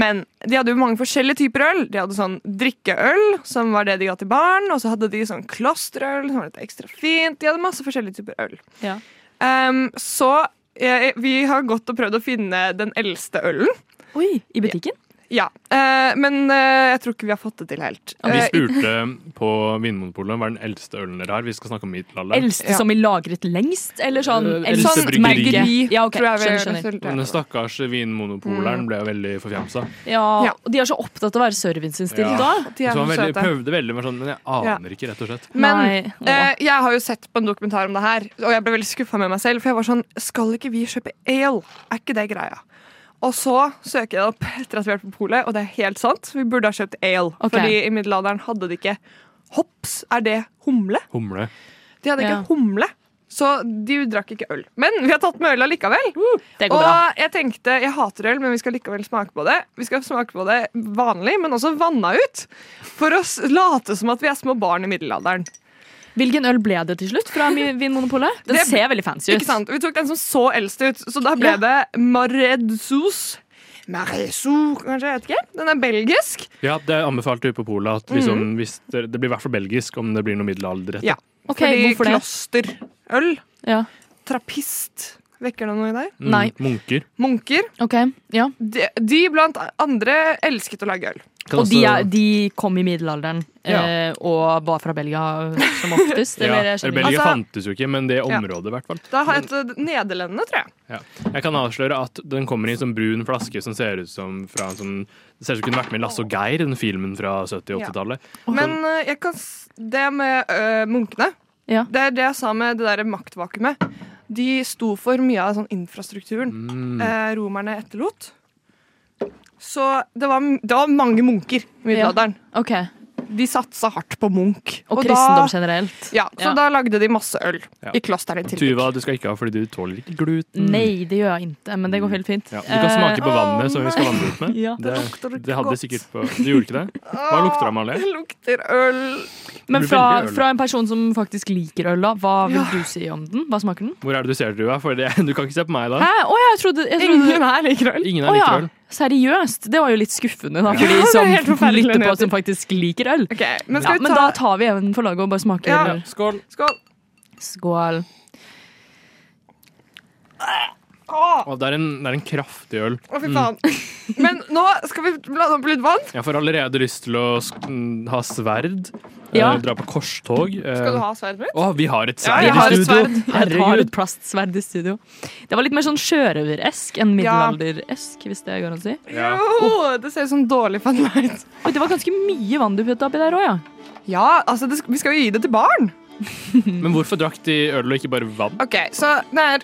Men de hadde jo mange forskjellige typer øl. De hadde sånn drikkeøl, som var det de ga til barn. Og så hadde de sånn klosterøl, som var litt ekstra fint. De hadde masse forskjellige typer øl. Ja. Em, så eh, vi har gått og prøvd å finne den eldste ølen. Oi, I butikken? Ja. eh, men eh, jeg tror ikke vi har fått det til helt. Vi Eh, spurte på Vinmonopolet hva er den eldste ølen dere har. Vi skal snakke om middelalderen. Eldste Ja. som i lagret lengst? Eller sånn? Eh, eller eldste sånn bryggeri. merke? Ja, ok, tror jeg vi skjønner, skjønner. Men den resulterer. stakkars Mm. vinmonopoleren ble jo veldig forfjamsa. Ja, Ja. og de er så opptatt av å være serviceinnstilt Ja. da. De Så er han så veldig, søte. prøvde veldig, men, sånn, men jeg aner ikke, rett og slett. Men Nei, åh. eh, jeg har jo sett på en dokumentar om det her, og jeg ble veldig skuffa med meg selv. For jeg var sånn Skal ikke vi kjøpe ale? Er ikke det greia? Og så søker jeg det opp etter at vi har vært på polet, og det er helt sant. Vi burde ha kjøpt ale. Ok. Fordi i middelalderen hadde de ikke hops. Er det humle? Humle. De hadde Ja. ikke humle. Så de drakk ikke øl. Men vi har tatt med øl allikevel. Det går Og bra. jeg tenkte, jeg hater øl, men vi skal likevel smake på det. Vi skal smake på det vanlig, men også vanna ut. For å s- late som at vi er små barn i middelalderen. Hvilken øl ble det til slutt fra Mi- Vinmonopolet? Den Det- ser veldig fancy ut. Ikke sant? Vi tok den som så eldst ut, så da ble Ja. det Maredsos. Maresou, kanskje? Jeg vet ikke. Den er belgisk. Ja, det anbefalte vi på polet. Mm. At liksom, hvis det, det blir i hvert fall belgisk om det blir noe middelalderrett. Ja. Ok, fordi hvorfor det? klosterøl, Ja. trappist Vekker det noe i deg? Mm, Nei. Munker. Munker. Ok, ja. De, de blant andre elsket å lage øl. Kan Og de, også- er, de kom i middelalderen Ja. eh, og var fra Belgia som oftest? ja, eller, jeg eller skjønner Belgia ikke. Altså- fantes jo ikke, men det området, i hvert fall. Da har jeg et eh, Nederlendene, tror jeg. Ja. Jeg kan avsløre at den kommer i en sånn brun flaske som ser ut som fra en sånn Det ser ut som kunne vært med i Lasse og Geir, den filmen fra 70- og Ja. 80-tallet. Men eh, jeg kan, s- det med eh, munkene Ja. Det er det jeg sa med det der maktvakuumet. De sto for mye av sånn infrastrukturen Mm. eh, romerne etterlot. Så det var, det var mange munker i middelalderen. Ok, De satsa hardt på munk. Og, da, kristendom generelt? ja, så Ja. da lagde de masse øl Ja. i klosteret i tillegg. Tuva, du skal ikke ha fordi du tåler ikke gluten. Nei, det gjør jeg ikke, men det går helt fint. Eh, Ja, du kan smake Eh, på vannet som vi skal vandre ut med. Ja. Det, lukter ikke det hadde godt. sikkert på Du gjorde ikke det? Hva lukter det, Amalie? Det lukter øl. Men blir fra, veldig øl. fra en person som faktisk liker øl, da, hva vil du si om den? Hva smaker den? Hvor er det du ser Tuva? For det, du kan ikke se på meg da. Hæ? Å, jeg trodde, jeg trodde Ingen her liker øl. Ingen Å er ja, likevel. seriøst? Det var jo litt skuffende, da, for de som helt forferdelige lytter på, nyheter. som faktisk liker øl. Ok, men Ja, skal men vi ta da tar vi evnen for laget og bare smaker Ja. øl. Skål. Skål. Skål. Åh, Og det er en, det er en kraftig øl. å, fy faen. Men nå skal vi blande opp litt vann. Jeg får allerede lyst til å sk- mm, ha sverd. Ja. eh, dra på korstog. eh. Skal du ha sverdet mitt? Å, vi har et Ja, sverd jeg har i et studio! sverd. Jeg tar et Herregud. plastsverd i studio. Det var litt mer sånn sjørøveresk enn Ja. middelalderesk, hvis det går an å si. Ja. Jo, Oh, det ser ut som dårlig fun light. Oi, det var ganske mye vann du putta oppi der òg, ja. Ja, altså, det, vi skal jo gi det til barn. Men hvorfor drakk de øl og ikke bare vann? Ok, så det er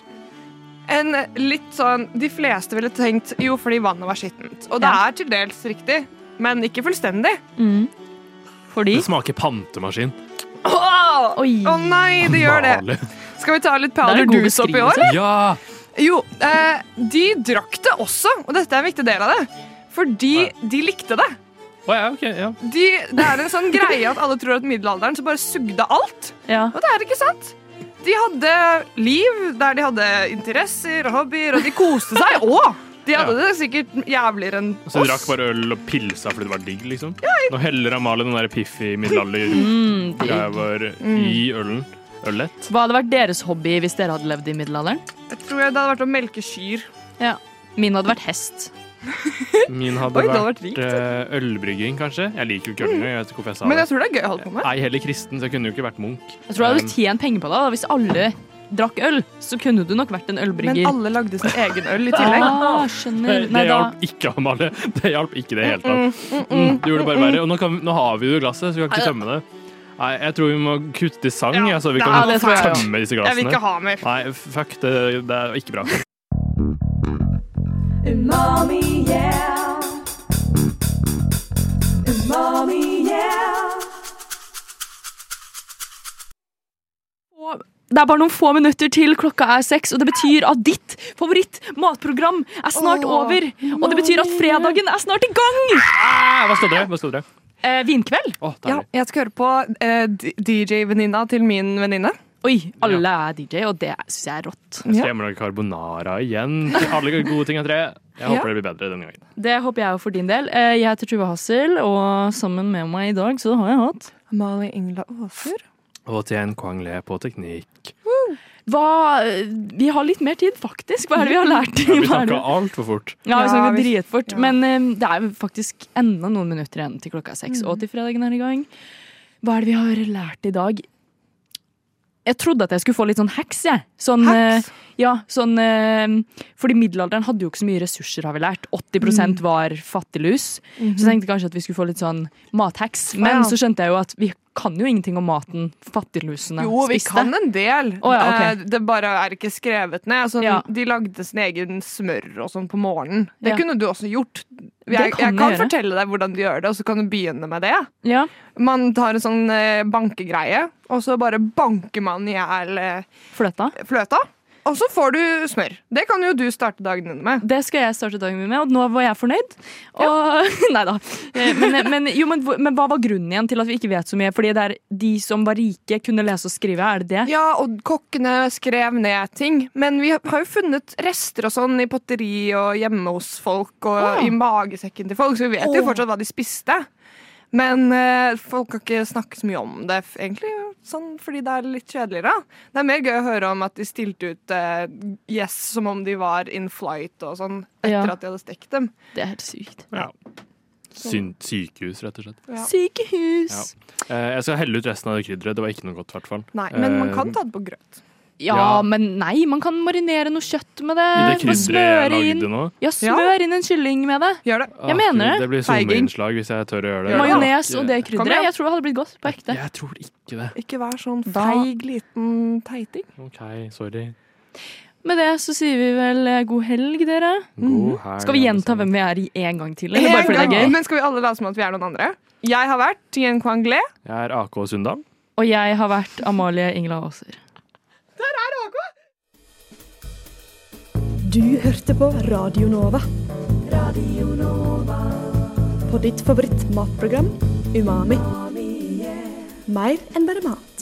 en litt sånn De fleste ville tenkt jo, fordi vannet var skittent. Og det Ja. er til dels riktig, men ikke fullstendig. Fordi Det smaker pantemaskin. Åh! Oi. Å nei, det gjør det. Maler. Skal vi ta litt Det er powder en god doos opp i år? Ja! Jo, eh, de drakk det også, og dette er en viktig del av det. Fordi de likte det. Å, ja, ok, ja. De, det er en sånn greie at alle tror at middelalderen så bare sugde alt. Ja. Og det er ikke sant. De hadde liv der de hadde interesser og hobbyer, og de koste seg òg. De hadde det sikkert jævligere enn Så de oss. drakk bare øl og pilsa fordi det var digg, liksom? Nå heller Amalie den der piffy middelalder Mm. Mm. greia vår i ølen. Ølet. Mm, Hva hadde vært deres hobby hvis dere hadde levd i middelalderen? Jeg tror jeg det hadde vært å melke kyr. Min hadde vært hest. Min Hm? hadde Oi, det hadde vært vært rikt. altså. Mm. eh, ølbrygging, kanskje. Jeg liker jo ikke øl, jeg vet ikke hvorfor jeg sa Men det. jeg tror det er gøy å holde på med. Nei, heller kristen, så jeg kunne jo ikke vært munk. Jeg tror jeg Um, hadde tjent penger på det. da. Hvis alle drakk øl, så kunne du nok vært en Men ølbrygger. alle lagde sin egen øl i tillegg. Ah, Nei, skjønner. det Nei, da. hjalp ikke, Amalie. Det hjalp ikke det i det hele tatt. Mm, Det gjorde det bare verre. Og nå, kan, vi- nå har vi jo glasset, så vi kan ikke tømme det. Nei, jeg tror vi må kutte i sang, Ja, ja, så vi det kan er- det tror jeg også. tømme disse Jeg vil ikke glassene. ha mer. Nei, fuck, det, det er ikke bra. Umami, yeah. Umami, yeah. Og Det er bare noen få minutter til klokka er seks, og det betyr at ditt favoritt matprogram er snart Åh, over. Og det betyr at fredagen er snart i gang! Ah, hva skal dere? Hva skal dere? Eh, vinkveld? Å, Ja, deilig. jeg skal høre på eh, D- DJ-venninna til min venninne. Oi, alle er DJ, og det syns jeg er rått. Jeg skal Ja. hjem og lage carbonara igjen. Alle gode ting er tre. Jeg håper det blir bedre denne gangen. Det håper jeg jo for din del. Eh, jeg heter Tuva Hassel, og sammen med meg i dag så har jeg hatt Amalie Ingla Aasur. Og tjen Kwang Le på teknikk. Hva eh, Vi har litt mer tid, faktisk. Hva er det vi har lært? Ja, Hva vi er det- snakka altfor fort. Ja, vi Ja, snakker vi- dritfort. ja. Men eh, det er jo faktisk enda noen minutter igjen til klokka er seks, Mm. og til fredagen er i gang. Hva er det vi har lært i dag? Jeg trodde at jeg skulle få litt sånn hacks, jeg. Sånn, Hacks? eh, Ja, sånn, eh, fordi middelalderen hadde jo ikke så mye ressurser, har vi lært. Mm. 80 var fattiglus. Så jeg tenkte kanskje at vi skulle få litt sånn mathacks. Men Mhm. ja. så skjønte jeg jo at vi kan jo ingenting om maten fattiglusene Jo, vi spiste. kan en del. Å, ja, ok. Eh, Det bare er ikke skrevet ned. Altså, Ja. De lagde sin egen smør og sånn på morgenen. Det Ja. kunne du også gjort. Det kan Jeg, jeg jeg kan gjøre. fortelle deg hvordan du gjør det, og så kan du begynne med det. Ja. Man tar en sånn eh, bankegreie, og så bare banker man i hjel eh, Fløta. fløta. Og så får du smør. Det kan jo du starte dagen din med. Det skal jeg starte dagen min med, og nå var jeg fornøyd. Og, Nei da. Eh, Men, men, jo, men, hvor- men hva var grunnen igjen til at vi ikke vet så mye? Fordi det er de som var rike, kunne lese og skrive, er det det? Ja, og kokkene skrev ned ting. Men vi har jo funnet rester og sånn i potteri og hjemme hos folk Å. og i magesekken til folk, så vi vet jo Å. fortsatt hva de spiste. Men eh, folk har ikke snakket så mye om det, f- egentlig, sånn, fordi det er litt kjedeligere. Det er mer gøy å høre om at de stilte ut eh, yes som om de var in flight og sånn, etter Ja. at de hadde stekt dem. Det er helt sykt. Ja. Syn sykehus, rett og slett. Ja. Sykehus! Eh, Jeg skal helle ut resten av det krydderet. Det var ikke noe godt, i hvert fall. Nei, men man Eh, kan ta det på grøt. Ja, Ja. men nei, man kan marinere noe kjøtt med I det det. Bare krydderet jeg smøre inn. lagde nå. Ja, smør inn en kylling med det. Gjør det. Ah, mener Gud, det. Det blir Feiging. SoMe-innslag hvis jeg tør å gjøre det. Majones og det Kom krydderet. igjen. Jeg tror det hadde blitt godt på ekte. Jeg tror ikke det. Ikke vær sånn Da- feig liten teiting. OK, sorry. Med det så sier vi vel eh, god helg, dere. God helg. Skal vi gjenta alle sammen. hvem vi er i en gang til? Eller bare En fordi det gang er til, gøy? Men skal vi alle late som at vi er noen andre? Jeg har vært Tien Kwang Le. Jeg er AK Sundal. Og jeg har vært Amalie Ingela Aaser. Du hørte på Radio Nova. Radio Nova. På ditt favoritt matprogram, Umami. Mer enn bare mat.